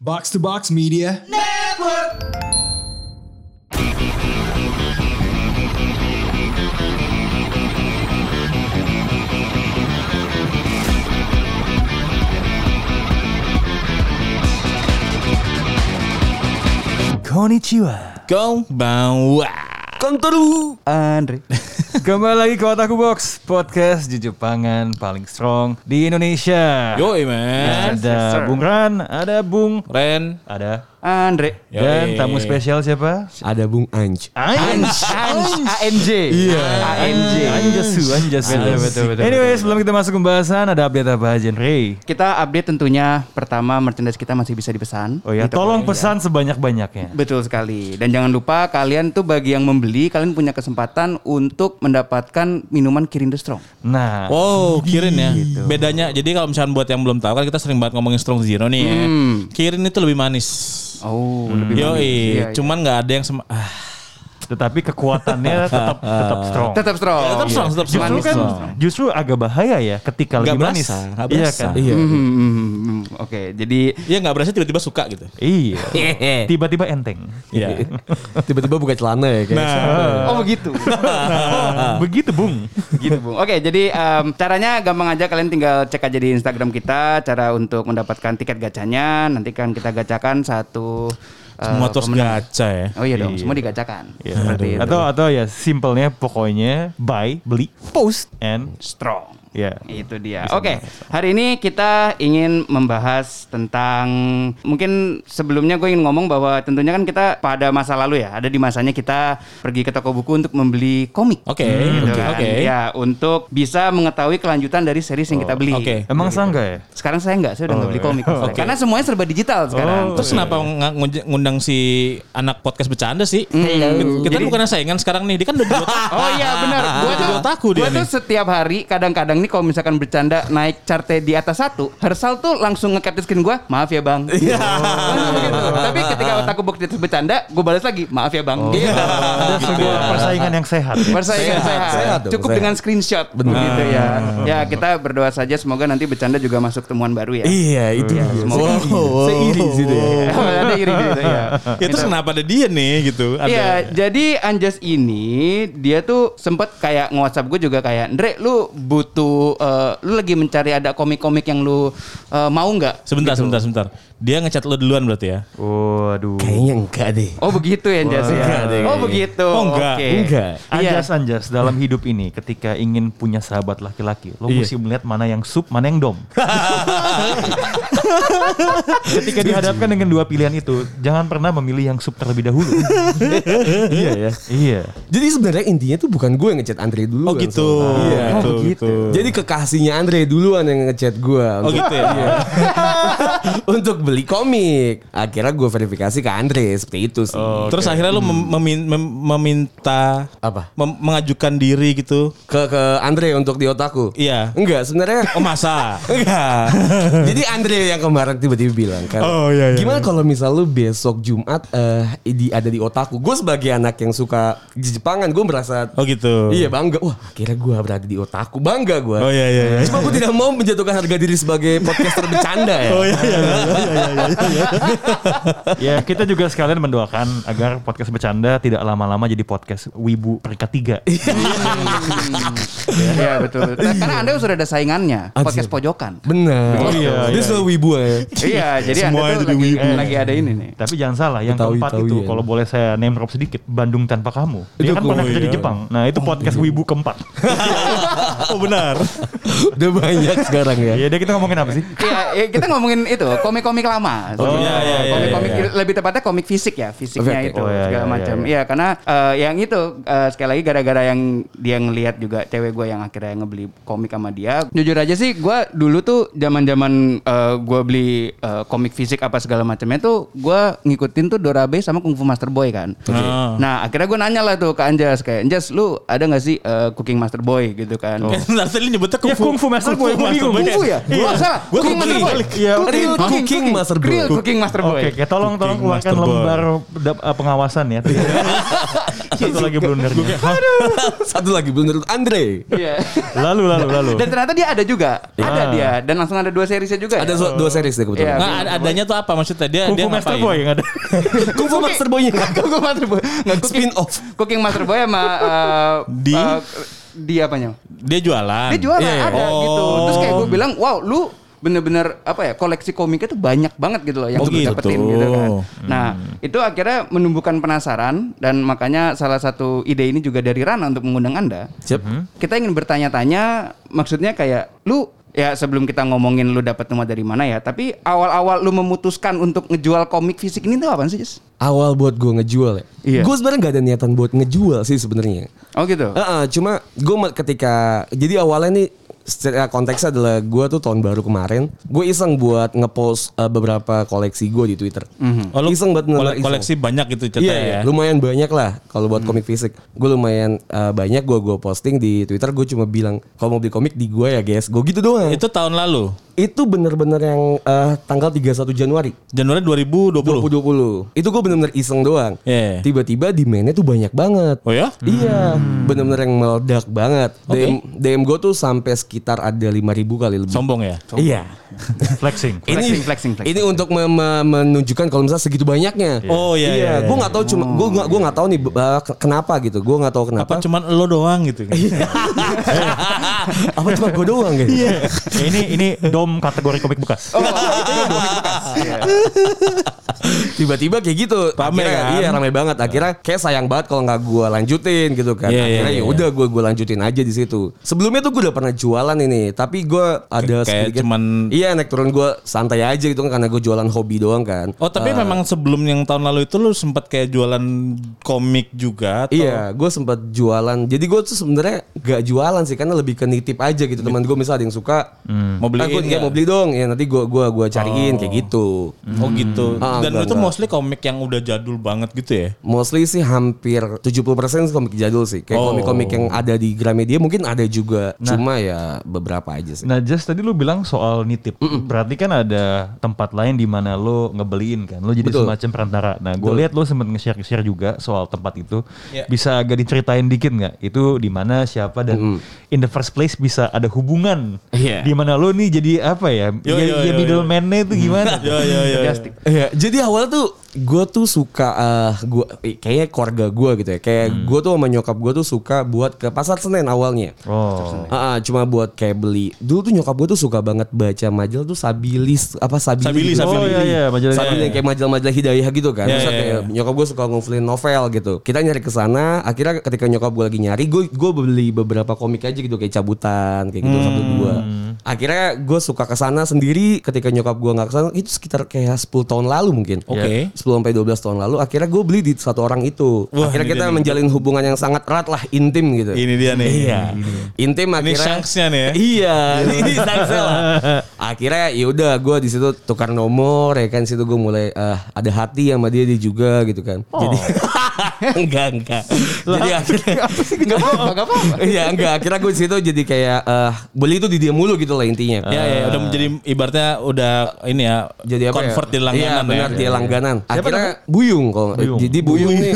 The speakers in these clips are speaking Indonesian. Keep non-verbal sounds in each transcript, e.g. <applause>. Box to Box Media. Konnichiwa Konbanwa. Kontoru Andre <laughs> Kembali lagi ke Otaku Box Podcast jujur pangan paling strong di Indonesia Yoi man. Ada Bung Ran, ada Bung Ren. Ada Andre. Yoi. Dan tamu spesial siapa? Ada Bung Anj. eh. Anj ANJ. Iya. ANJ. Anjasu, Anjasu Betul, betul, betul. Anyway sebelum kita masuk ke pembahasan Ada update apa aja Ray? Kita update tentunya pertama merchandise kita masih bisa dipesan. Oh ya Di toko tolong ini. pesan iya. sebanyak-banyaknya Betul sekali. Dan jangan lupa kalian tuh bagi yang membeli kalian punya kesempatan untuk mendapatkan minuman Kirin the Strong. Nah Wow, Kirin ya. Bedanya, jadi kalau misalnya buat yang belum tahu kan kita sering banget ngomongin Strong Zero nih. ya. Kirin itu lebih manis. Oh, lebih Hmm. Yoi, manis. Iya, iya. cuman nggak ada yang sama. Ah, Tetapi kekuatannya tetap tetap strong tetap strong. Iya. tetap strong, tetap strong. Justru Manis. kan justru agak bahaya ya ketika Nggak lebih manis berasa, nggak Iya berasa. kan Iya. Hmm, hmm, hmm, hmm. Oke, jadi Iya nggak berasa tiba-tiba suka gitu. Iya. Tiba-tiba enteng. <laughs> Iya. Tiba-tiba buka celana ya kayak. Eh. oh begitu. <laughs> Nah. Begitu, Bung. gitu, Bung. Oke, jadi em, caranya gampang aja kalian tinggal cek aja di Instagram kita cara untuk mendapatkan tiket gacanya. Nanti kan kita gacakan satu eh, Semua terus pemenang. gacha ya. Oh iya dong, semua digacakan. Seperti itu. Atau atau ya simpelnya pokoknya buy, beli, post and strong. Iya. ya. Itu dia. Oke, hari ini kita ingin membahas tentang mungkin sebelumnya gue ingin ngomong bahwa tentunya kan kita pada masa lalu ya, ada di masanya kita pergi ke toko buku untuk membeli komik. Oke, Gitu oke, kan. oke. Ya, untuk bisa mengetahui kelanjutan dari series yang kita beli. Oh, oke. Iya, Oh, iya. Emang sangga ya? Sekarang saya enggak, saya udah nggak beli komik. Oke. Oh, Karena semuanya serba digital sekarang. Terus kenapa ng- ngun- ngundang si anak podcast bercanda sih? Kita kan Jadi- bukan saingan sekarang nih, dia kan udah buat. <laughs> Oh iya benar. Gua Jadi tuh otaku dia gua nih. tuh setiap hari kadang-kadang nih kalau misalkan bercanda naik charte di atas satu, Hersal tuh langsung nge-capture screen gua, "Maaf ya, Bang." Iya. Tapi ketika otaku bukti atas bercanda, gua balas lagi, "Maaf ya, Bang." Gitu. Ada sebuah persaingan yang Iya. sehat. ya. Persaingan Sehat, sehat. sehat dong, Cukup sehat. dengan screenshot begitu ya. Ya, kita berdoa saja semoga nanti bercanda juga masuk temuan baru ya. Iya, itu dia. semoga Wow, iri. wow, Seiri di situ ya. <laughs> Ada iri gitu ya. Ya terus kenapa ada dia nih gitu? Ada. Iya, jadi Anjas ini dia tuh sempet kayak nge-WhatsApp gue juga kayak, "Ndre, lu butuh eh, lu lagi mencari ada komik-komik yang lu eh, mau nggak?" Sebentar, sebentar, sebentar. Dia ngechat lo duluan berarti ya? Waduh. Kayaknya enggak deh. Oh, begitu ya Anjas ya. Enggak Oh, deh, kayaknya. begitu. Oh, enggak. Oke. Enggak. Iya. <laughs> Anjas anjas dalam hidup ini ketika ingin punya sahabat laki-laki, lo Iya. mesti melihat mana yang sub, mana yang <laughs> dom. ketika dihadapkan dengan dua pilihan itu, jangan pernah memilih yang sub terlebih dahulu. <laughs> iya ya. iya. Jadi sebenarnya intinya tuh bukan gue yang ngechat Andre dulu. Oh gitu. Iya. Oh, gitu. Jadi kekasihnya Andre duluan yang ngechat gue Oh untuk, gitu ya. <laughs> untuk beli komik. Akhirnya gue verifikasi ke Andre seperti itu sih. Terus akhirnya lu mem- memin- mem- meminta Apa? mem- mengajukan diri gitu. Ke ke Andre untuk di otakku. Iya. Enggak, sebenarnya Oh <laughs> masa? <laughs> Enggak. Jadi Andre yang kemarin tiba-tiba bilang kan. Oh, iya, iya. Gimana kalau misal lu besok Jumat eh di ada di otakku. Gue sebagai anak yang suka Jepangan, gue merasa Oh gitu. Iya bangga. Wah, akhirnya gue berada di otakku. Bangga gue. Oh iya iya. <laughs> iya. Cuma gue tidak mau menjatuhkan harga diri sebagai podcaster bercanda ya. Oh iya iya. Ya kita juga sekalian mendoakan agar podcast bercanda tidak lama-lama jadi podcast wibu peringkat <laughs> tiga. Iya, betul. betul. Karena Anda sudah ada saingannya, podcast pojokan. Benar. Oh, iya, Dia iya, selalu wibu ya. Iya, jadi Semua Anda tuh jadi lagi, wibu. lagi ada ini nih. Tapi jangan salah, yang Betawi- keempat Betawi itu ya. kalau boleh saya name drop sedikit, Bandung tanpa kamu. Itu Dia kan gua, pernah kerja di iya. Jepang. Nah itu podcast wibu <laughs> keempat. Oh benar. Udah banyak sekarang ya. Iya, dia kita ngomongin apa sih? Iya, ya, kita ngomongin itu komik-komik lama. Oh, iya, iya, iya, Komik-komik iya. lebih tepatnya komik fisik ya, fisiknya Oke, oke. itu Oh, iya, segala iya, macam. iya. Iya, karena eh, yang itu eh, sekali lagi gara-gara yang dia ngelihat juga cewek gue yang akhirnya ngebeli komik sama dia. Jujur aja sih, gue dulu tuh zaman-zaman eh, gue beli eh, komik fisik apa segala macamnya tuh gue ngikutin tuh Dorabe sama Kung Fu Master Boy kan. Ah. Nah, akhirnya gue nanya lah tuh ke Anjas kayak, Anjas lu ada gak sih eh, Cooking Master Boy gitu kan? Oh. Ntar Eh, tadi nyebutnya Ya, Kung Fu Master Boy, gua Iya, bingung. Kung Fu ya? Iya. Gua salah. Gua Cooking Master kebalik. Boy. Iya, Cooking, cooking Master Boy. Real Cooking Master Boy. Oke, oke. tolong tolong Cooking keluarkan Master Boy. lembar da- eh, pengawasan ya. Satu lagi blundernya. <laughs> Satu lagi blunder Andre. Iya. Lalu lalu lalu. Dan ternyata dia ada juga. Ada Ah. dia dan langsung ada dua seriesnya juga. Ada ya? so- dua series deh <laughs> Iya. kebetulan. Nah, ad- adanya tuh apa maksudnya? Dia dia Kuku ngapain? Master Boy <laughs> yang ada. Kung Fu Master Boy Cooking Master Boy. Nggak, cooking, Spin off. Cooking Master Boy sama eh, Di? eh, di apanya? Dia jualan. Dia juara Iya, iya. ada Oh. gitu. Terus kayak gue bilang, "Wow, lu bener-bener apa ya koleksi komiknya tuh banyak banget gitu loh yang Oh, lu gitu. Hmm. dapetin gitu kan. Nah itu akhirnya menumbuhkan penasaran dan makanya salah satu ide ini juga dari Rana untuk mengundang anda. Siap. Kita ingin bertanya-tanya maksudnya kayak lu ya sebelum kita ngomongin lu dapet nomor dari mana ya. Tapi awal-awal lu memutuskan untuk ngejual komik fisik ini tuh apa sih? Jis? Awal buat gue ngejual ya. Iya. Gue sebenarnya nggak ada niatan buat ngejual sih sebenarnya. Oh gitu. Eh, Heeh, cuma gue ketika jadi awalnya nih secara konteksnya adalah gue tuh tahun baru kemarin gue iseng buat ngepost eh, beberapa koleksi gue di Twitter. Oh, lu Iseng banget kole- ngeluarin iseng. koleksi banyak gitu Iya, ceritanya iya, ya. Mhm. lumayan banyak lah kalau buat komik fisik. Gue lumayan eh, banyak gue gue posting di Twitter. Gue cuma bilang kalau mau beli komik di gue ya guys. Gue gitu doang. Itu Itu, tahun lalu. bener-bener yang eh, tanggal 31 Januari Januari 2020. 2020. Itu gue bener-bener iseng doang. Iya. Tiba-tiba demandnya tuh banyak banget. Oh ya? Iya, bener-bener yang meledak banget. DM, DM gue tuh sampai sekitar ada 5000 kali lebih. Sombong ya? Iya. Flexing. Flexing, flexing, flexing. Ini untuk me- me- menunjukkan kalau misalnya segitu banyaknya. Oh, iya, iya, iya. Gue nggak tahu cuma gue nggak gue nggak tahu nih eh, kenapa gitu. Gue nggak tahu kenapa. Apa cuman lo doang gitu? apa cuma gue doang gitu? <laughs> Ya, ini ini dom kategori komik bekas. Tiba-tiba kayak gitu. Rame Akhirnya- kan? Iya rame banget. Akhirnya kayak sayang banget kalau nggak gue lanjutin gitu kan. Iya, iya, Akhirnya iya. ya udah gue gue lanjutin aja di situ. Sebelumnya tuh gue udah pernah jualan ini, tapi gue ada Kayak cuman- Iya naik turun gue santai aja gitu kan karena gue jualan hobi doang kan. Oh tapi memang sebelum yang tahun lalu itu lu sempat kayak jualan komik juga atau Iya, gue sempat jualan. Jadi gue tuh sebenarnya gak jualan sih, karena lebih ke nitip aja gitu. Teman gue misalnya ada yang suka, mau Hmm. beliin aku nggak? mau beli dong. Ya nanti gue gua gua cariin kayak gitu. Oh gitu. Ah, Dan lu enggak, tuh enggak. mostly komik yang udah jadul banget gitu ya. Mostly sih hampir 70% komik jadul sih. Kayak Oh. komik-komik yang ada di Gramedia mungkin ada juga. Cuma ya beberapa aja Gitu. sih. Nah, Jas tadi lu bilang soal nitip. Berarti kan ada tempat lain di mana lu ngebeliin kan. Lu jadi Betul. semacam perantara. Nah, gue lihat lu sempat nge-share-share juga soal tempat itu. Ya. Bisa agak diceritain dikit nggak? Itu di mana, siapa dan in the first place bisa ada hubungan. Iya. Di mana lu nih jadi apa ya? Yo, ya yo, ya yo, middleman-nya itu gimana? Ya ya ya. Fantastic. Iya, jadi awal tuh gue tuh suka eh, gua eh, kayaknya keluarga gue gitu ya. Kayak gue tuh sama nyokap gue tuh suka buat ke pasar Senen awalnya. Oh. Ah, ah, cuma buat kayak beli. Dulu tuh nyokap gue tuh suka banget baca majalah tuh Sabilis apa Sabili. Sabili, gitu. Sabili. Oh iya iya, majalah Sabili yang kayak majalah-majalah hidayah gitu kan. Iya, Terus iya, kayak nyokap gue suka ngumpulin novel gitu. Kita nyari ke sana, akhirnya ketika nyokap gue lagi nyari, gue gue beli beberapa komik aja gitu kayak cabutan kayak gitu satu dua. Akhirnya gue suka ke sana sendiri ketika nyokap gue nggak ke sana itu sekitar kayak 10 tahun lalu mungkin. Oke. 10 sampai 12 tahun lalu akhirnya gue beli di satu orang itu. Wah, akhirnya ini kita dia nih. menjalin hubungan yang sangat erat lah, intim gitu. Ini dia nih. Iya. Intim Ini akhirnya. shanksnya nih ya. <laughs> Iya, ini, ini shanksnya <laughs> lah. Akhirnya yaudah gue di situ tukar nomor ya kan situ gue mulai eh, ada hati sama dia, dia juga gitu kan. Jadi <laughs> enggak enggak. Jadi <laughs> <laughs> akhirnya Gak apa-apa, gak apa-apa. <laughs> Iya enggak akhirnya gue di situ jadi kayak eh, beli itu di dia mulu gitu lah intinya. Ya ya udah menjadi ibaratnya udah ini ya Jadi apa convert ya? di langganan Iya, benar ya. di langganan. Akhirnya Buyung kalau nggak- Buyung. jadi Buyung, nih,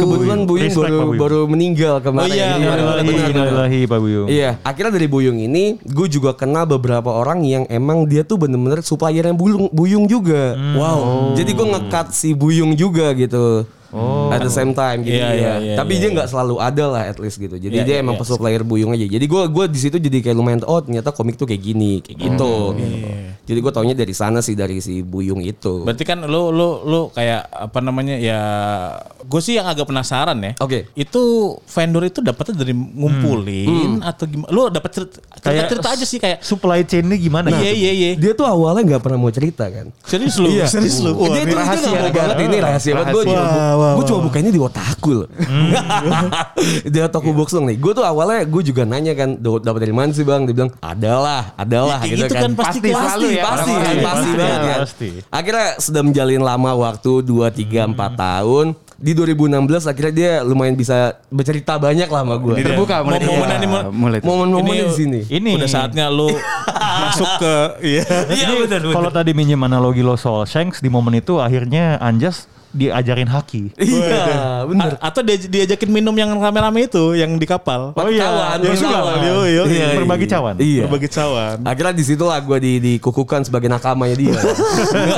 kebetulan Buyung Respect, baru Pak Buyung. baru meninggal kemarin. Oh iya, Iya, kemarin. benar, Innalillahi, benar. innalillahi, Pak Buyung. Gitu. Iya, akhirnya dari Buyung ini gue juga kenal beberapa orang yang emang dia tuh bener-bener supplier yang Buyung, Buyung juga. Hmm. Oh. Wow. Jadi gue ngekat si Buyung juga gitu. At the same time gitu Oh. Iya, ya. iya, iya, Tapi iya, dia nggak selalu ada lah at least gitu. Jadi Iya, dia iya, emang iya. supplier Buyung aja. Jadi gue gua di situ jadi kayak lumayan oh ternyata komik tuh kayak gini, Hmm. kayak gitu. Iya. Jadi gue taunya dari sana sih dari si Buyung itu. Berarti kan lu lu lu kayak apa namanya ya gue sih yang agak penasaran ya. Oke. Hmm. Itu vendor itu dapetnya dari ngumpulin atau gimana? Lu dapat cerita, Kayak cerita aja sih kayak Supply chain-nya gimana? gitu? Iya iya iya. Nah, Dia tuh awalnya nggak pernah mau cerita kan. Serius lu, serius lu. Wah, dia ini tuh rahasia rahasia dia negara. banget ini rahasia banget. Gue cuma, gue cuma bukainnya di otakku loh. <laughs> di otakku box dong nih. Gue tuh awalnya gue juga nanya kan dapat dari mana sih bang? Dia bilang adalah, adalah Ya, kayak gitu kan, pasti, pasti, selalu pasti, ya. Orang-orang pasti, kan, kayak pasti gitu. banget Iya, kan. pasti. Hmm. Akhirnya sudah menjalin lama waktu 2, 3, 4 tahun. di 2016 akhirnya dia lumayan bisa bercerita banyak lah sama gue. Ini dia. Terbuka mulai Momen- terbuka. momen ini, momen- mulai terbuka. Momen-momen di sini. Ini. Udah saatnya lu masuk ke iya. Jadi, Kalau tadi minjem analogi lo soal Shanks di momen itu akhirnya Anjas diajarin haki. Iya, bener. A- atau dia, diajakin minum yang rame-rame itu yang di kapal. Oh iya, Kawan, yang berkawan. juga. Yo, yo, Iya, yo. berbagi cawan. Iya. Berbagi cawan. Akhirnya di situ lah gue di dikukuhkan sebagai nakamanya dia. <laughs>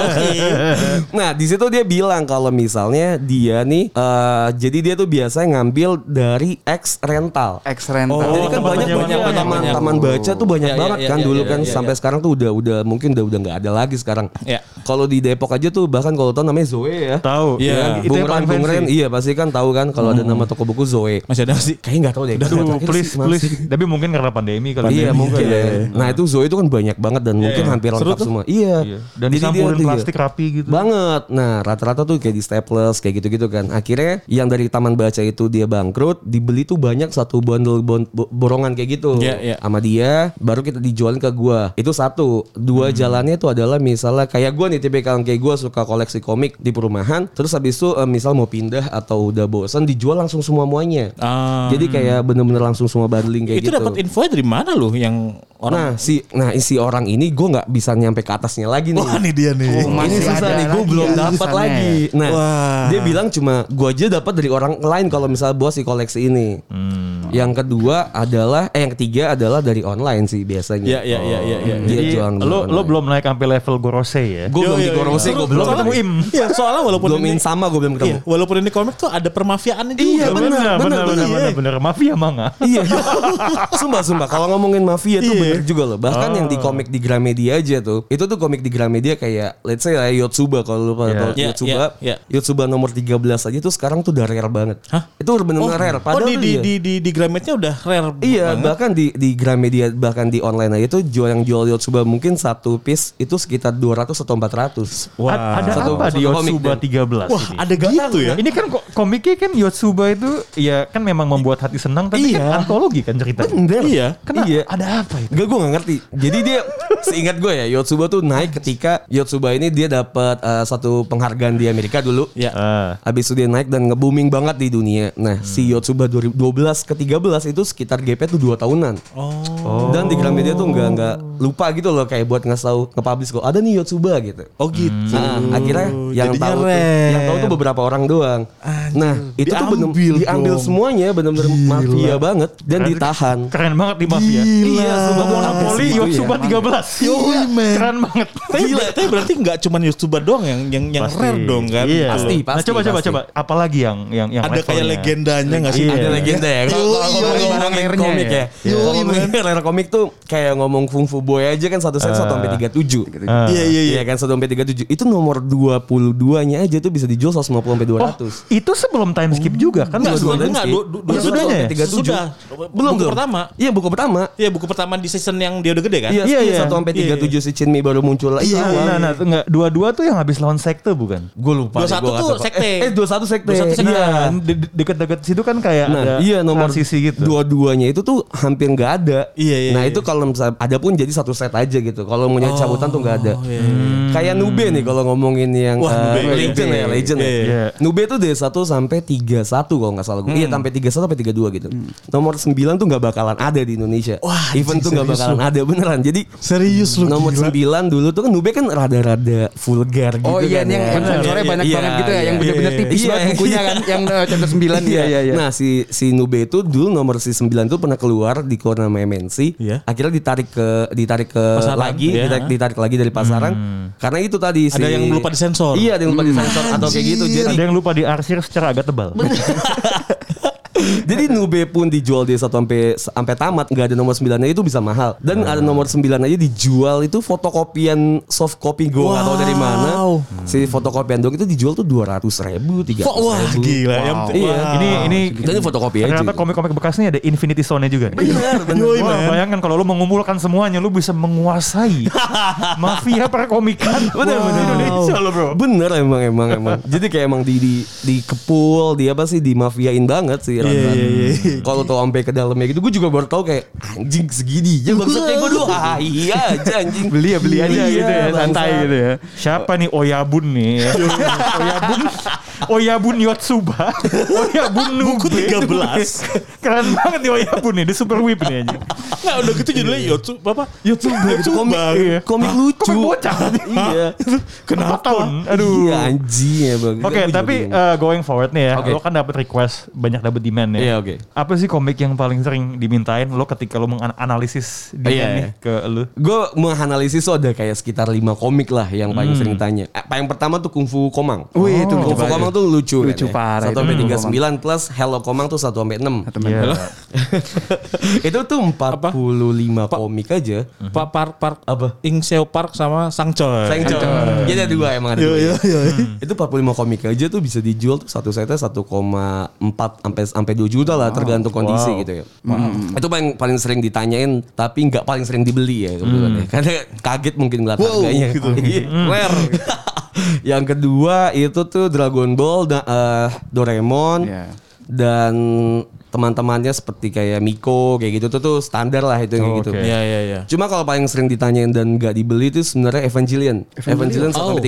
nah di situ dia bilang kalau misalnya dia nih, eh, jadi dia tuh biasanya ngambil dari X rental. X rental. Oh, Jadi kan teman banyak banyak, banyak banyak, taman banyak. taman baca tuh banyak Iya, iya, banget iya, kan iya, dulu iya, kan iya, sampai sekarang tuh udah udah mungkin udah udah nggak ada lagi sekarang. Iya. Kalau di Depok aja tuh bahkan kalau tau namanya Zoe ya. Tahu. Iya. Yang Itu Bung yang Ren, paling Bung Ren, fancy. iya pasti kan tahu kan kalau ada nama toko buku Zoe. Masih ada sih. Kayaknya nggak tahu deh. Aduh, Nggak tahu, please, Iya, masih- please. Tapi mungkin karena pandemi kali. Iya Pandemi. mungkin. ya. Nah itu Zoe itu kan banyak banget dan mungkin hampir Seru lengkap tuh. semua. Iya. Iya. Dan Jadi dia disampurin tuh, iya. plastik rapi gitu. Banget. Nah rata-rata tuh kayak di staples kayak gitu-gitu kan. Akhirnya yang dari taman baca itu dia bangkrut, dibeli tuh banyak satu bundle bon- bo- borongan kayak gitu. Iya, iya. Sama dia, baru kita dijualin ke gua. Itu satu. Dua jalannya tuh adalah misalnya kayak gua nih tipikal yang kayak gua suka koleksi komik di perumahan. Terus habis itu eh, misal mau pindah atau udah bosen dijual langsung semua muanya. Ah. Jadi kayak bener-bener langsung semua bundling kayak itu gitu. dapat info dari mana lu yang orang Nah si nah si orang ini gue nggak bisa nyampe ke atasnya lagi nih. Wah, ini dia nih. Oh, ini masih susah ada nih gue lagi belum ya dapat tulisannya lagi. Nah Wah. dia bilang cuma gue aja dapat dari orang lain kalau misalnya bos si koleksi ini. Yang kedua adalah eh yang ketiga adalah dari online sih biasanya. Hmm. Iya, iya, iya, iya, iya. Dia Jadi jualan lo, lo belum naik sampai level Gorose ya. Gue belum di Gorose, Seru, gue belum soalnya- ketemu Im. Iya, soalnya walaupun Belum ini in sama gue belum ketemu. iya, walaupun ini komik tuh ada permafiaannya juga. Iya, bener, bener, bener, bener, iya. bener, bener. Mafia manga. Iya. <laughs> sumpah sumpah kalau ngomongin mafia tuh Iya. Ah. bener juga loh. Bahkan yang di komik di Gramedia aja tuh. Itu tuh komik di Gramedia kayak let's say lah Yotsuba kalau lu pada Iya. tahu Iya, Yotsuba. iya, iya. Yotsuba nomor 13 aja tuh sekarang tuh udah rare banget. Hah? Itu bener-bener rare Oh, padahal di, tuh di, iya. di, di, di Grametnya udah rare Iya, banget. bahkan di di Gramedia bahkan di online aja tuh jual yang jual Yotsuba mungkin satu piece itu sekitar 200 atau 400. Wah. A- Ada Satu- apa di satu komik ya? Yotsuba dan- 13 Wah, ini? ada gitu ya. Ini kan kok komiknya kan Yotsuba itu ya kan memang membuat hati senang tapi Iya. kan antologi kan ceritanya. Bener. Iya. Kenapa? Iya. Ada apa itu? Enggak gue gak ngerti. Jadi <laughs> dia seingat gue ya Yotsuba tuh naik ketika Yotsuba ini dia dapat eh, satu penghargaan di Amerika dulu. Ya. Ah. Habis itu dia naik dan nge-booming banget di dunia. Nah, Hmm. si Yotsuba 2012 ke 13 itu sekitar GP tuh 2 tahunan. Oh. Dan di Gramedia tuh nggak nggak lupa gitu loh kayak buat ngasih tahu ke publish kok ada nih Yotsuba gitu. Oh gitu. Nah, akhirnya yang Jadinya tahu tuh, rare. yang tahu tuh beberapa orang doang. Nah, itu tuh bener, diambil diambil dong. semuanya bener-bener mafia banget dan ditahan. Keren banget di mafia. Iya, sumpah gua nggak Monopoli habis itu Yotsuba ya. 13. Yoi, man. Iya, Keren banget. Tapi, tapi berarti nggak cuma YouTuber doang yang yang yang Pasti. rare dong kan? Iya. Pasti, nah, pasti, coba coba pasti. coba apalagi yang yang yang Ada kayak levelnya? legendanya nggak sih? Iya. Ada legenda ya. Kalau Yoi, kalau ngomongin yoi. barang Barang komik rare-nya ya. Kalau ngomongin rare komik tuh kayak ngomong Kung Fu Boy aja kan satu set 1 sampai 37. Ah. Iya iya iya. Iya kan 1 sampai 37. Itu nomor 22-nya aja tuh bisa dijual 150 sampai 200. Oh, itu sebelum time Oh. skip juga kan? dua-duanya? Enggak, sebelum- enggak, dua- Iya, dua- Oh, dua- sudahnya ya? dua- dua- Sudah. Belum Buku belum. pertama. Iya, buku pertama. Iya buku pertama di season yang dia udah gede kan? Iya, Iya, iya, iya. 1 sampai Iya, 37 si Chinmi baru muncul Iya, lagi. Nah, nah, nah, tuh, enggak. Dua-dua tuh yang habis lawan sekte bukan? Gue lupa. 21 deh, gua nggak tuh tahu. sekte. Eh, eh, 21 sekte. 21 sekte. Iya. Nah, de- deket-deket situ kan kayak ada Nah, iya nomor transisi gitu. Dua-duanya itu tuh hampir nggak ada. Iya, iya, nah, iya. itu kalau misalnya ada pun jadi satu set aja gitu. Kalau mau nyari cabutan tuh nggak Oh, ada. Kayak Nube nih kalau ngomongin yang iya, Wah, eh, Nube, legend Nube. ya, legend ya. Iya, Hmm. iya. Nube tuh dari 1 sampai 31 kalau nggak salah gue. Iya, sampai 31 sampai 32 gitu. Nomor 9 tuh nggak bakalan ada di Indonesia. Wah, Event anjing, tuh nggak serius bakalan ada beneran. Jadi Serius lu nomor gila. 9 dulu tuh kan Nube kan rada-rada vulgar gitu Oh iya kan. ini yang ya. sensornya iya, banyak iya, banget gitu ya yang iya, bener-bener iya. tipis Iya, banget iya. bukunya kan yang eh, chapter 9 iya iya iya. Nah si si Nube itu dulu nomor si 9 itu pernah keluar di corner sama MNC. Iya. Akhirnya ditarik ke ditarik ke Pasaran, lagi iya. Hmm. ditarik, ditarik lagi dari pasaran. Karena itu tadi si Ada yang lupa disensor. Hmm. Iya, ada yang lupa disensor atau kayak gitu. Jadi Ada yang lupa diarsir secara agak tebal. jadi Nube pun dijual di satu sampai sampai tamat nggak ada nomor 9 nya itu bisa mahal. Dan Hmm. ada nomor 9 aja dijual itu fotokopian soft copy gue atau dari mana. Wow. Hmm. Si fotokopian dong itu dijual tuh 200 ribu, 300 ribu. Wah gila. ya Yang, Iya. wah. Ini ini Dan ini fotokopi aja. ternyata komik-komik bekasnya ada Infinity Stone-nya juga. nih. Bener, <laughs> bener. Yoi, Wah, man. bayangkan kalau lu mengumpulkan semuanya lu bisa <laughs> menguasai mafia perkomikan Bener, Wah, bener. Indonesia lo bro. Bener emang emang emang. Jadi kayak emang di di di kepul, di apa sih dimafiain banget sih Iya, kan. Kalau tuh sampai ke dalamnya gitu, gue juga baru tahu kayak anjing segini. Ya maksudnya gue dulu ah iya aja anjing. Iya, Beli ya, beli aja gitu ya, bangsa. santai gitu ya. Iya, Siapa nih Oyabun nih? Oyabun Oyabun Yotsuba. <laughs> Oyabun Nube. Buku 13. Keren banget nih Oyabun nih, dia super whip nih anjing. Nah udah gitu judulnya Yotsu apa? Yotsuba gitu, komik, iya. komik lucu. Komik bocah. iya. Kenapa? Tahun? Aduh. Iya anjing ya bang. Oke, Gue juga tapi bingung. eh, going forward nih ya, Oke. lo kan dapat request, banyak dapat demand ya. Iya, oke. Apa sih komik yang paling sering dimintain lo ketika lo menganalisis demand Iya, nih ke lo? Gue menganalisis tuh ada kayak sekitar 5 komik lah yang paling sering tanya. Eh, Yang pertama tuh Kung Fu Komang. Wih, itu Kung lucu Fu banget. Komang tuh lucu. kan ya. Lucu parah itu Satu sampai Kung Fu tiga sembilan plus Hello Komang tuh satu sampai enam. Iya. Itu tuh 45 komik aja. Pak Park Park Apa? Ing Seo Park sama Sang Choi. Sang Chong. Dia ada dua emang ada. dua. Hmm. Itu 45 komik aja tuh bisa dijual tuh satu setnya 1,4 sampai sampai 2 juta lah tergantung kondisi gitu ya. Mm. Itu paling paling sering ditanyain tapi nggak paling sering dibeli ya kebetulan ya. <laughs> Karena kaget mungkin ngeliat harganya. <laughs> Iya, Rare. Yang kedua itu tuh Dragon Ball da- eh, Doraemon Iya. dan teman-temannya seperti kayak Miko kayak gitu tuh tuh standar lah itu yang kayak gitu. Oke. Iya iya iya. Cuma kalau paling sering ditanyain dan nggak dibeli itu sebenarnya Evangelion. Evangelion, Oh. 1 sampai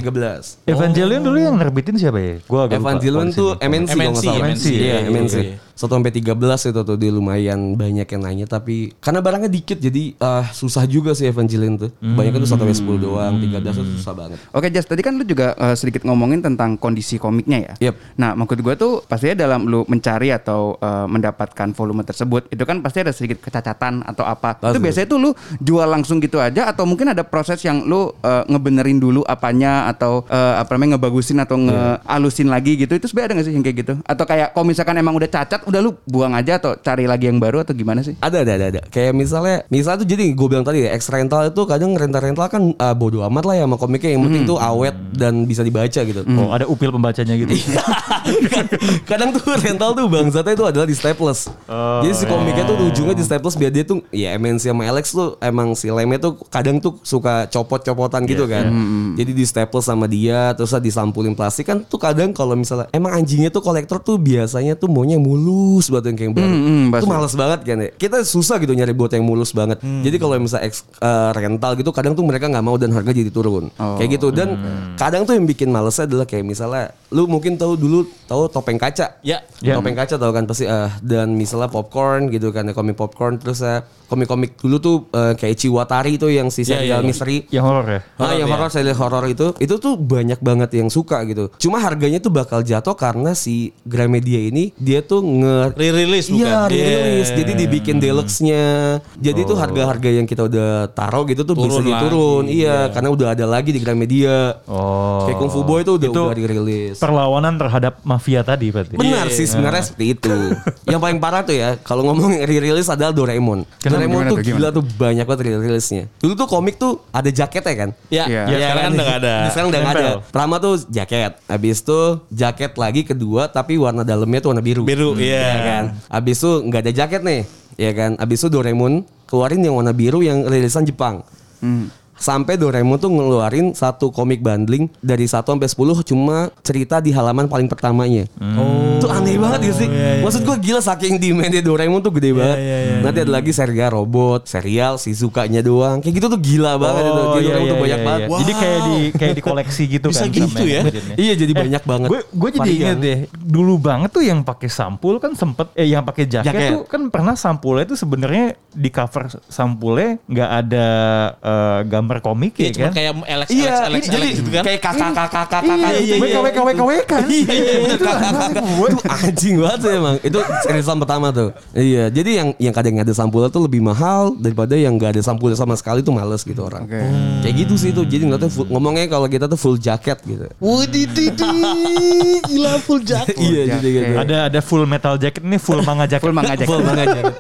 13. Evangelion dulu yang nerbitin siapa ya? Gua agak lupa Evangelion koleksinya. tuh MNC, kalau nggak MNC, salah. MNC, Iya, iya, MNC. iya. 1 sampai 13 itu tuh dia lumayan banyak yang nanya tapi karena barangnya dikit jadi eh, susah juga sih Evangelion tuh. Kebanyakan tuh 1 sampai Hmm. 10 doang, 13 itu susah banget. Oke Jas, tadi kan lu juga eh, sedikit ngomongin tentang kondisi komiknya ya. Yep. Nah, maksud gue tuh pastinya dalam lu mencari atau eh, mendapatkan volume tersebut, itu kan pasti ada sedikit kecacatan atau apa. Itu Pasti. biasanya tuh lu jual langsung gitu aja atau mungkin ada proses yang lu eh, ngebenerin dulu apanya atau eh, apa namanya ngebagusin atau Iya. ngealusin lagi gitu. Itu sebenarnya ada nggak sih yang kayak gitu? Atau kayak kalau misalkan emang udah cacat, udah lu buang aja atau cari lagi yang baru atau gimana sih? Ada, ada, ada, ada. Kayak misalnya, misalnya tuh jadi gue bilang tadi ya, X rental itu kadang rental-rental kan eh, bodo amat lah ya sama komiknya. Yang Hmm. penting tuh awet dan bisa dibaca gitu. Oh, ada upil pembacanya gitu. Iya. <laughs> kadang tuh rental tuh bangsatnya itu adalah di staples. Oh, Jadi iya. si komiknya tuh ujungnya di staples biar dia tuh ya MNC sama Alex tuh emang si lemnya tuh kadang tuh suka copot-copotan gitu Iya, kan. Hmm, Jadi di staples sama dia terus disampulin plastik kan tuh kadang kalau misalnya emang anjingnya tuh kolektor tuh biasanya tuh maunya yang mulus buat yang kayak yang baru. Hmm, hmm, Tuh pasti. males banget kan ya. Kita susah gitu nyari buat yang mulus banget. Jadi kalau misalnya ex- eh, rental gitu kadang tuh mereka nggak mau dan harga jadi turun. Kayak gitu dan kadang tuh yang bikin malesnya adalah kayak misalnya lu mungkin tahu dulu tahu topeng kaca. Ya. Ya. Topeng kaca tau kan pasti eh, dan misalnya popcorn gitu kan ya komik popcorn terus eh, komik-komik dulu tuh eh, kayak Ciwatari tuh yang si Ya, ya, serial ya. misteri. yang horor ya? Ah, yang horor serial horor itu itu tuh banyak banget yang suka gitu. Cuma harganya tuh bakal jatuh karena si Gramedia ini dia tuh nge Re-release bukan? Iya, rilis. Yeah. Jadi dibikin deluxe-nya. Jadi tuh harga-harga yang kita udah taruh gitu tuh Turun bisa lagi, diturun. Iya, karena udah ada lagi di Gramedia. Oh. Kayak Kung Fu Boy tuh udah Itu udah dirilis. Perlawanan terhadap mafia tadi berarti. Benar sih sebenarnya seperti itu. yang paling parah tuh ya kalau ngomong re-release adalah Doraemon. Doraemon Gimana tuh tuh, gila tuh banyak banget re-release-nya. Dulu tuh komik tuh ada jaketnya kan? Ya, Iya. ya, sekarang kan udah nggak ada. Sekarang udah nggak ada. Nempel. Pertama tuh jaket, habis itu jaket lagi kedua tapi warna dalamnya tuh warna biru. Biru, iya. Ya kan. Habis itu nggak ada jaket nih, ya kan. Habis itu Doraemon keluarin yang warna biru yang rilisan Jepang. Hmm. Sampai Doraemon tuh ngeluarin satu komik bundling dari 1 sampai 10 cuma cerita di halaman paling pertamanya. Hmm. Itu aneh Oh. banget ya sih. iya, Maksud gua gila saking demandnya Doraemon tuh gede banget. iya. Nanti ada lagi serial robot, serial Shizukanya doang. Kayak gitu tuh gila Oh, banget itu. Jadi Doraemon tuh banyak Oh, banget. iya. Jadi kayak di kayak di koleksi gitu Bisa kan. gitu ya? Iya jadi banyak banget. Gue gue Eh, jadi Varian. inget deh dulu banget tuh yang pakai sampul kan sempet eh yang pakai jaket, Jaket. tuh kan pernah sampulnya tuh sebenarnya di cover sampulnya nggak ada eh, gambar komik Iya, ya, cuma kan? kayak Alex, Iya, Alex, Alex, ini jadi Alex gitu kan. kayak kakak-kakak-kakak Iya, gitu ya. WK, WK, WK, WK. Iya, iya, bener, kakak-kakak. Itu anjing banget sih emang. Itu rilisan pertama tuh. Iya, jadi yang yang kadang ada sampulnya tuh lebih mahal daripada yang nggak ada sampulnya sama sekali tuh males gitu orang. Oke. Kayak gitu sih tuh. Jadi ngeliatnya full- ngomongnya kalau kita tuh full jacket gitu. Wudi didi, gila full jack. <laughs> Iya, jadi gitu. Ada ada full metal jacket ini full manga jacket. Full manga jacket. Full banget jacket.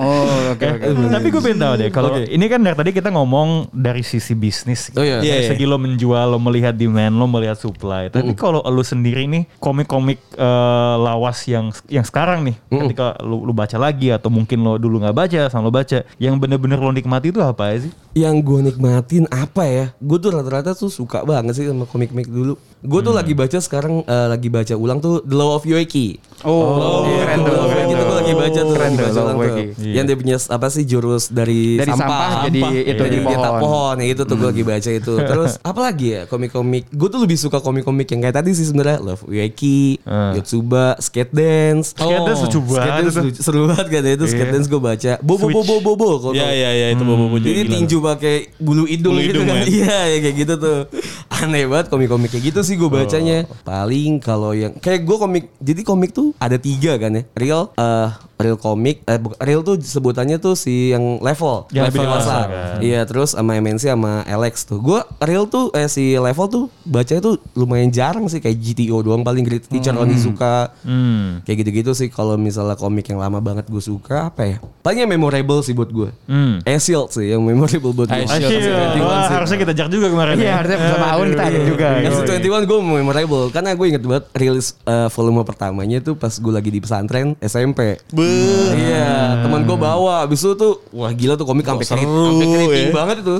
Oh, oke oke. Eh, Tapi gue pengen tahu deh kalau ini kan dari tadi kita ngomong dari sisi bisnis. Oh, iya. Dari Iya, iya. segi lo menjual, lo melihat demand, lo melihat supply. Tapi kalau lo sendiri nih komik-komik eh, lawas yang yang sekarang nih ketika lo, lo baca lagi atau mungkin lo dulu nggak baca sama lo baca, yang bener-bener lo nikmati itu apa sih? yang gue nikmatin apa ya gue tuh rata-rata tuh suka banget sih sama komik-komik dulu gue Hmm. tuh lagi baca sekarang eh, lagi baca ulang tuh The Law of Yoiki Oh, Iya, keren The tuh. oh, Law of Yoiki tuh gue Weki baca tuh Keren Weki tuh, baca Love tuh. Weki. Yang dia punya apa sih jurus dari, Iya. Iya, Dari sampah, jadi itu jadi jadi dia tak pohon. Hmm. pohon ya itu tuh gue lagi baca <laughs> itu. Terus apa lagi ya komik-komik? Gue tuh lebih suka komik-komik yang kayak tadi sih sebenarnya Love Weki, Hmm. Yotsuba, Skate Dance. Oh. Kayaknya lucu Skate banget Dance itu. lucu- seru banget kan ya, itu Iya. Skate Dance gue baca. Bobo Switch. bobo bobo kalau Iya tau. iya iya itu bobo bobo Jadi tinju pakai bulu hidung Bulu gitu hidung, kan. man. Iya, ya kayak gitu tuh. Aneh banget komik-komik kayak gitu sih gue bacanya. Paling kalau yang kayak gue komik, jadi komik tuh ada tiga kan ya. Real, eh real komik, eh, bukan- real tuh sebutannya tuh si yang level, Yang level lebih dewasa, dewasa. kan. Iya, terus sama MNC sama Alex tuh. Gue real tuh eh si level tuh bacanya tuh lumayan jarang sih kayak GTO doang paling Great Teacher Onizuka. Hmm. Kayak gitu-gitu sih kalau misalnya komik yang lama banget gue suka apa ya? Paling yang memorable sih buat gue. Hmm. Ice Shield sih yang memorable buat gue. Ice Shield. Asyik. Ah, iya. Wah, harusnya kita jak juga kemarin. ya. iya, Iya, harusnya bersama Aun kita ada juga. SC21 gue memorable karena gue inget banget rilis eh, volume pertamanya tuh pas gue lagi di pesantren SMP. Iya, teman gue bawa. Abis itu tuh wah gila tuh komik sampai keri- seru sampai keriting ya. banget itu.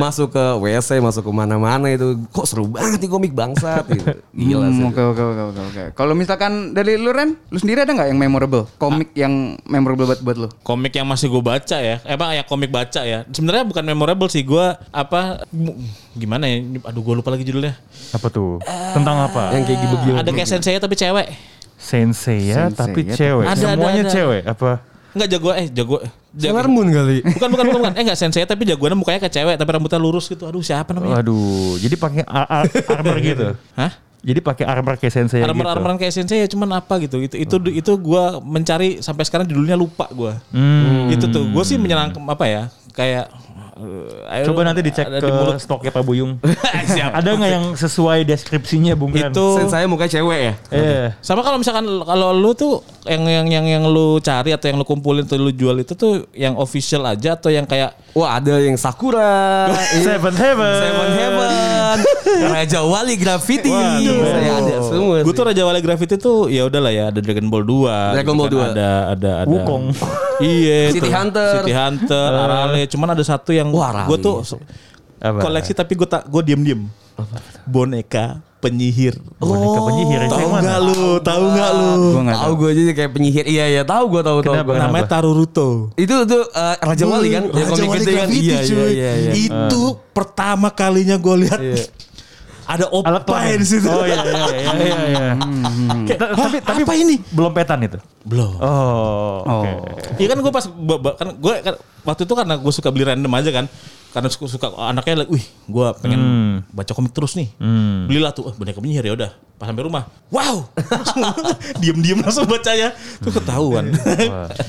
Masuk ke WC, masuk ke mana-mana itu. Kok seru banget nih komik bangsat gitu. Gila sih. Hmm, Oke oke oke oke oke. Kalau misalkan dari lu Ren, lu sendiri ada nggak yang memorable? Komik yang memorable buat buat lu? komik yang masih gue baca ya eh, apa ya komik baca ya sebenarnya bukan memorable sih gue apa mu- gimana ya aduh gue lupa lagi judulnya Eh, Apa tuh? Tentang apa? Yang kayak gitu gila. ada kayak sensei tapi cewek Sensei ya, Sensei tapi ya, cewek. tapi- Ada, Semuanya ada, ada. cewek apa? Enggak jago eh jago Sailor Moon kali. bukan bukan bukan bukan eh enggak sensei tapi jagoannya mukanya kayak cewek tapi rambutnya lurus gitu aduh siapa Oh, iya. namanya Waduh, jadi pakai ar- ar- <laughs> armor gitu. hah Jadi pakai armor kayak Oh. sensei gitu? yang armor armoran kayak sensei ya cuman apa gitu itu itu itu gue mencari sampai sekarang judulnya lupa gue Hmm. itu tuh gue sih menyerang apa ya kayak eh, I gitu. don't- Coba nanti dicek ada ke di mulut. stoknya Pak Buyung. <laughs> Siap. Ada nggak yang sesuai deskripsinya Bung Ren? itu Sensei mukanya cewek ya. Eh, sama kalau misalkan kalau lu tuh yang yang yang yang lu cari atau yang lu kumpulin atau lu jual itu tuh yang official aja atau yang kayak Wah ada yang Sakura, iya. Seven Heaven. Seven Heaven, Raja Wali Graffiti, saya ada semua. gue sih. tuh Raja Wali Graffiti tuh ya udahlah ya ada Dragon Ball 2 Dragon gitu Ball kan. 2. ada ada ada Wukong. <laughs> iya tuh. City Hunter. Eh. City Hunter Arale cuman ada satu yang Wah, Arale. gue tuh se- Apa? koleksi tapi gue tak gue diem diem boneka penyihir Oh, Boneka penyihir itu tahu yang Oh, nggak mana? lu tahu nggak lu Gua nggak Tahu gue jadi kayak penyihir. Iya iya tahu gue tahu tahu. Kenapa? gua. namanya Taruruto Itu tuh eh, Raja Wali kan, Raja komik Wali gede kan? Graffiti, Iya iya cuy. iya. iya. Itu pertama kalinya gue lihat ada Alat opa kelamin. di situ. Oh iya iya iya iya. iya. <laughs> Kayak, ta- Hah, tapi tapi apa ini? belum petan itu. Belum. Oh, oke. Iya kan gue pas ba- ba- kan gue kan, waktu itu karena gue suka beli random aja kan. Karena suka, suka anaknya, like, wih, gue pengen baca komik terus nih. Belilah tuh, eh, boneka penyihir ya udah. Pas sampai rumah, wow, <laughs> diem-diem langsung bacanya, tuh ketahuan.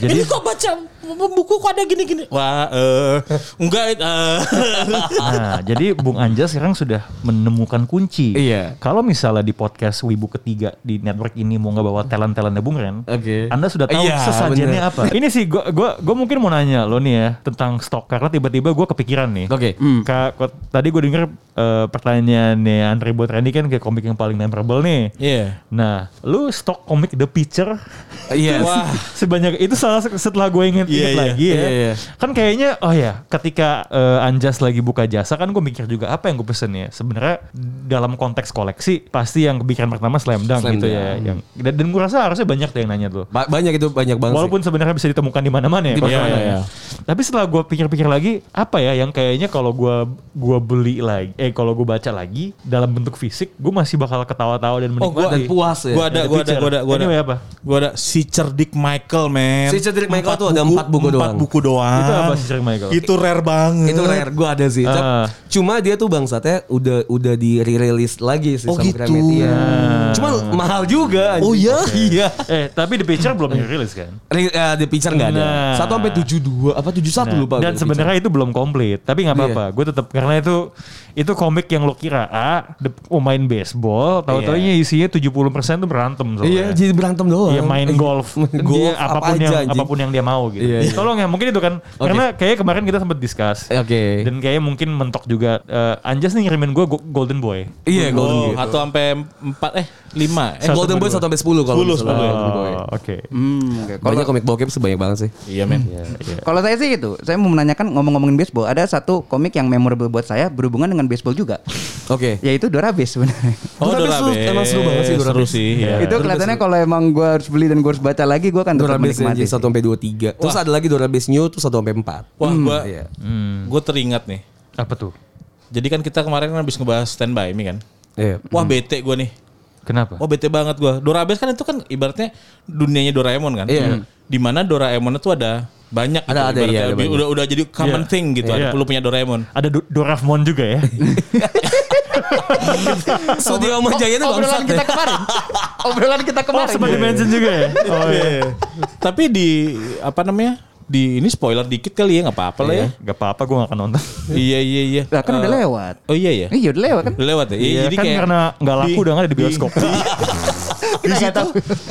jadi- ini kok baca buku kok ada gini-gini? Wah, eh, enggak. eh. <laughs> Nah, jadi Bung Anja sekarang sudah menemukan kunci. Iya. Kalau misalnya di podcast Wibu ketiga di network ini mau nggak bawa talent talentnya Bung Ren, Oke. Anda sudah tahu Iya, sesajennya apa. <laughs> Ini sih gua gua gua mungkin mau nanya lo nih ya tentang stok karena tiba-tiba gua kepikiran nih. Oke. Hmm. Kak, kok- tadi gue denger eh, pertanyaannya Andre buat Randy kan kayak komik yang paling memorable nih. Iya. Nah, lu stok komik The Pitcher <laughs> Iya. Wah, sebanyak itu salah se- setelah gue inget, Iya, inget iya. lagi ya. Iya, iya. Kan kayaknya oh ya, ketika eh, Anjas lagi buka jasa kan gue mikir juga apa yang gue pesen ya. Sebenarnya dalam konteks koleksi pasti yang kepikiran pertama slam dunk Slam gitu Dunk. ya. Yang dan, dan gue rasa harusnya banyak tuh yang nanya Iya tuh. Ba- banyak itu banyak banget. sih. Walaupun sebenarnya bisa ditemukan di mana-mana ya. Di Pak. mana-mana, Iya, iya. Tapi setelah gue pikir-pikir lagi, apa ya yang kayaknya kalau gue gua beli lagi, eh kalau gue baca lagi dalam bentuk fisik, gue masih bakal ketawa-tawa dan Oh, gua menikmati. dan puas ya. Gua ada, Ada gua ada, picture. gua ada, gua ada. Anyway, apa? Gua ada si cerdik Michael, man. Si Cedric Michael tuh ada empat buku Empat doang. buku doang. Itu apa si Cerdik Michael? Itu rare banget. itu rare gue ada sih. Ah. Cuma dia tuh bangsatnya udah udah di rilis lagi sih Oh, gitu. Ah. Gramedia. Cuma mahal juga. Oh anjing. iya? Iya. Eh, tapi The Picture belum dirilis kan? Re- eh, The Picture nggak ada. Nah. Satu sampai tujuh dua apa tujuh satu Nah, lupa. dan gua. Iya. sebenarnya itu belum komplit, tapi nggak apa-apa. Gue tetap karena itu itu komik yang lo kira A, de- oh main baseball, tahu-taunya isinya 70% tuh berantem Iya, soalnya. jadi berantem doang. Eh, Iya main golf, Main golf golf dia apapun apa aja, yang anjing. apapun yang dia mau gitu. Iya, iya. Tolong ya mungkin itu kan Oke. karena kayak kemarin kita sempat discuss. Eh, oke. Dan kayaknya mungkin mentok juga eh, Anjas nih ngirimin gue Golden Boy. Iya, Golden Oh, Boy. satu sampai empat eh lima. Eh, Eh, Golden Boy 1 sampai 10 kalau. Sepuluh, misalnya. sepuluh ya. Golden Boy. Oh, Oke. Hmm, oke. Kalau Banyak komik bokep sebanyak banget sih. iya men. kalau saya sih seperti itu. Saya mau menanyakan ngomong-ngomongin baseball, ada satu komik yang memorable buat saya berhubungan dengan baseball juga, <laughs> Oke. yaitu Dorabes sebenarnya. Oh, Dorabes Dorabes. tuh emang seru banget sih, Seru Dorabes. sih. ya. itu kelihatannya kalau emang gue harus beli dan gue harus baca lagi, gue akan tetap Dorabes menikmati. NJ 1 sampai 23. Terus ada lagi Dorabes New tuh 1 sampai 4. Wah, gua Iya. gua teringat nih. Apa tuh? Jadi kan kita kemarin kan habis ngebahas standby me kan. Iya. <laughs> Wah, bete gua nih. Kenapa? Wah, bete banget gua. Dorabes kan itu kan ibaratnya dunianya Doraemon kan. Iya. Di mana Doraemon itu ada banyak gitu, Ada- ada, ibaratnya. iya, ada Di- banyak. udah udah jadi common Iya. thing gitu. Iya. Ada perlu punya Doraemon. Ada Do- Doraemon juga ya. Studio Oma Jaya itu Oh, Obrolan bangsat kita ya. kemarin. Obrolan kita oh, kemarin. sempat dimention juga ya. Oh iya. Tapi di apa namanya? Di ini spoiler dikit kali ya, nggak apa-apa lah ya. Gak apa-apa gue gak akan nonton. Iya iya iya. Lah kan udah Eh, lewat. Oh iya iya. Iya udah lewat kan. Udah lewat ya. Iya, Iya, kan karena nggak laku udah nggak ada di bioskop. Di, di situ,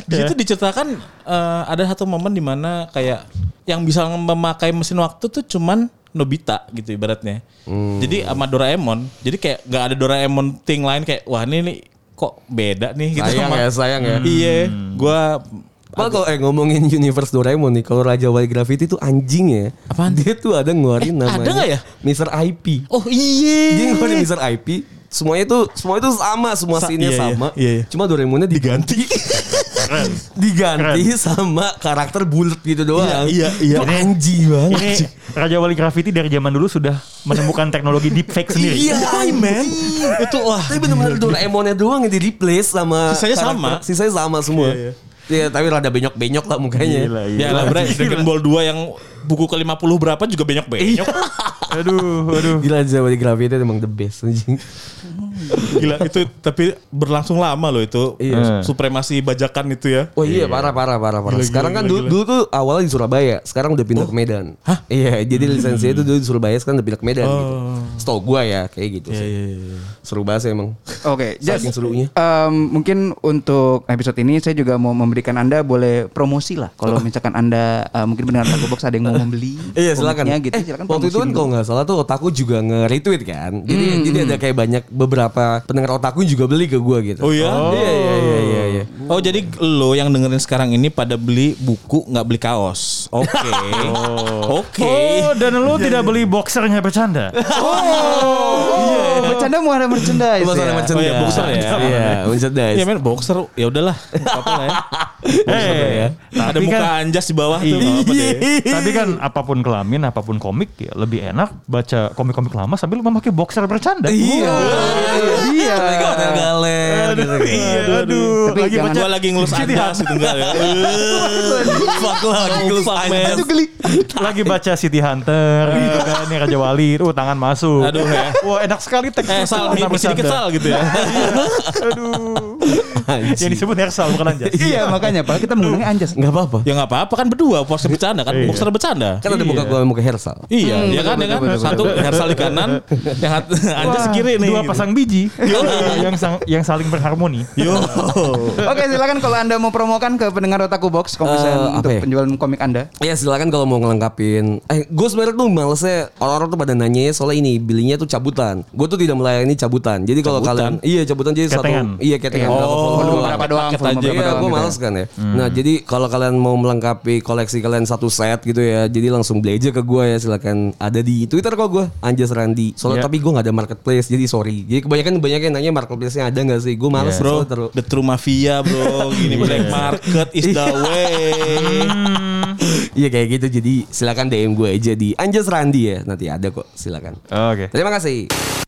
di Iya. situ diceritakan eh, ada satu momen di mana kayak yang bisa memakai mesin waktu tuh cuman Nobita gitu ibaratnya. Hmm. Jadi sama Doraemon. Jadi kayak nggak ada Doraemon thing lain kayak wah ini nih kok beda nih gitu Sayang sama- ya, sayang ya. Iya, gua Malah kalau eh, ngomongin universe Doraemon nih, kalau Raja Wali Graffiti tuh anjing ya. Apaan? Dia tuh ada Eh, ngeluarin ada namanya. nggak ya? Mr. IP. Oh iya. Dia ngeluarin Mr. IP. Semuanya tuh semua itu sama, semua Sa- iya, scene-nya iya, sama. iya, iya. Cuma Doraemonnya diganti. <laughs> diganti sama karakter bulat gitu doang. Iya, iya, iya. Itu anjing banget. Ini Iya. Raja Wali Graffiti dari zaman dulu sudah menemukan teknologi deepfake sendiri. Iya, man. Itu wah. Tapi bener-bener Doraemonnya doang yang di replace sama Sisanya sama. Sisanya sama semua. Iya, tapi rada benyok-benyok lah mukanya. Gila, gila. Ya lah Bray, Dragon Ball 2 yang buku ke-50 berapa juga Iya. banyak-banyak. Aduh, aduh. Gila aja Wali Graffiti emang the best anjing. Gila itu tapi berlangsung lama loh itu. Iya. Supremasi bajakan itu ya. Wah iya parah parah parah parah. Gila, sekarang gila, kan gila, dulu, gila. Oh. dulu tuh awalnya di Surabaya, sekarang udah pindah ke Medan. Hah? Iya, jadi lisensinya Hmm. itu dulu di Surabaya sekarang udah pindah ke Medan gitu. Oh. Setau gua ya kayak gitu Iya, sih. Seru banget sih emang. Oke, Jas, Saking serunya. em, mungkin untuk episode ini saya juga mau memberikan anda boleh promosi lah. Kalau misalkan anda eh, mungkin mendengar Taco Box ada yang mau membeli, Iya silakan. komiknya gitu, eh, silakan waktu itu promosi kan dulu. Hmm, kalau nggak salah tuh otaku juga nge-retweet kan. Jadi jadi ada kayak banyak beberapa pendengar otaku juga beli ke gua gitu. Oh iya? Iya iya iya iya. iya. Oh jadi lo yang dengerin sekarang ini pada beli buku nggak beli kaos. Oke. <laughs> Oke. Iya, Oh, dan lu tidak beli boxernya bercanda. Iya, Oh, bercanda mau ada merchandise. Lu masalah ya? merchandise. Oh iya, boxer ya. Iya, merchandise. Iya men boxer ya udahlah. Nggak Apa-apa lah ya. Eh, Nah, Ada tapi muka kan, anjas di bawah tuh. Iya. nggak apa-apa deh. tapi kan apapun kelamin, apapun komik, ya lebih enak baca komik-komik lama sambil memakai boxer bercanda. Iya. Iya. Galer-galer gitu kan. Iya, aduh. Tapi Lagi jangan- baca Iya. Gua lagi ngelus anjas gitu enggak ya. Fuck lah, Fuck, man. Itu <laughs> lagi baca City Hunter gitu kan nih Raja Wali tuh tangan masuk. Iya. Aduh, ya. Wah, enak sekali teks. Eh sal, Tangan masih dikit bercanda. sal gitu ya. Aduh. Yang disebut Hersal bukan Anjas. Iya makanya, Pak kita menggunakan anjas. Gak apa-apa. Ya nggak apa-apa kan berdua, boxer bercanda kan, Iya. boxer bercanda. Kan ada muka gua muka Hersal. Iya, ya kan, ya kan. Satu Hersal di kanan, yang hat- Anjas di kiri nih. Dua gitu. pasang biji yang sang- yang saling berharmoni. Yo. Oke silakan kalau anda mau promokan ke pendengar Otaku Box, kalau Eh, misalnya apa untuk ya? penjualan komik anda. Ya silakan kalau mau ngelengkapin. Eh, gue sebenarnya tuh malesnya orang-orang tuh pada nanya ya, soalnya ini belinya tuh cabutan. Gue tuh tidak melayani cabutan. Jadi kalau Cabutan? Oh, kalian iya cabutan jadi Ketengan. satu iya ketengan berapa follower Follow doang. beberapa doang, paket follow aja. beberapa Iya, doang gue gitu. males kan ya. Nah, jadi kalau kalian mau melengkapi koleksi kalian satu set gitu ya, jadi langsung beli aja ke gue ya. Silakan ada di Twitter kok gue, Anjas Randi. Soalnya Iya. tapi gue nggak ada marketplace, jadi sorry. Jadi kebanyakan banyak yang nanya marketplace-nya ada nggak sih? Gue males Bro, soalnya terlalu- <laughs> the true mafia bro, gini black market is the way. Iya kayak gitu. Jadi silakan DM gue aja di Anjas Randi ya. Nanti ada kok. Silakan. Oke. Terima kasih.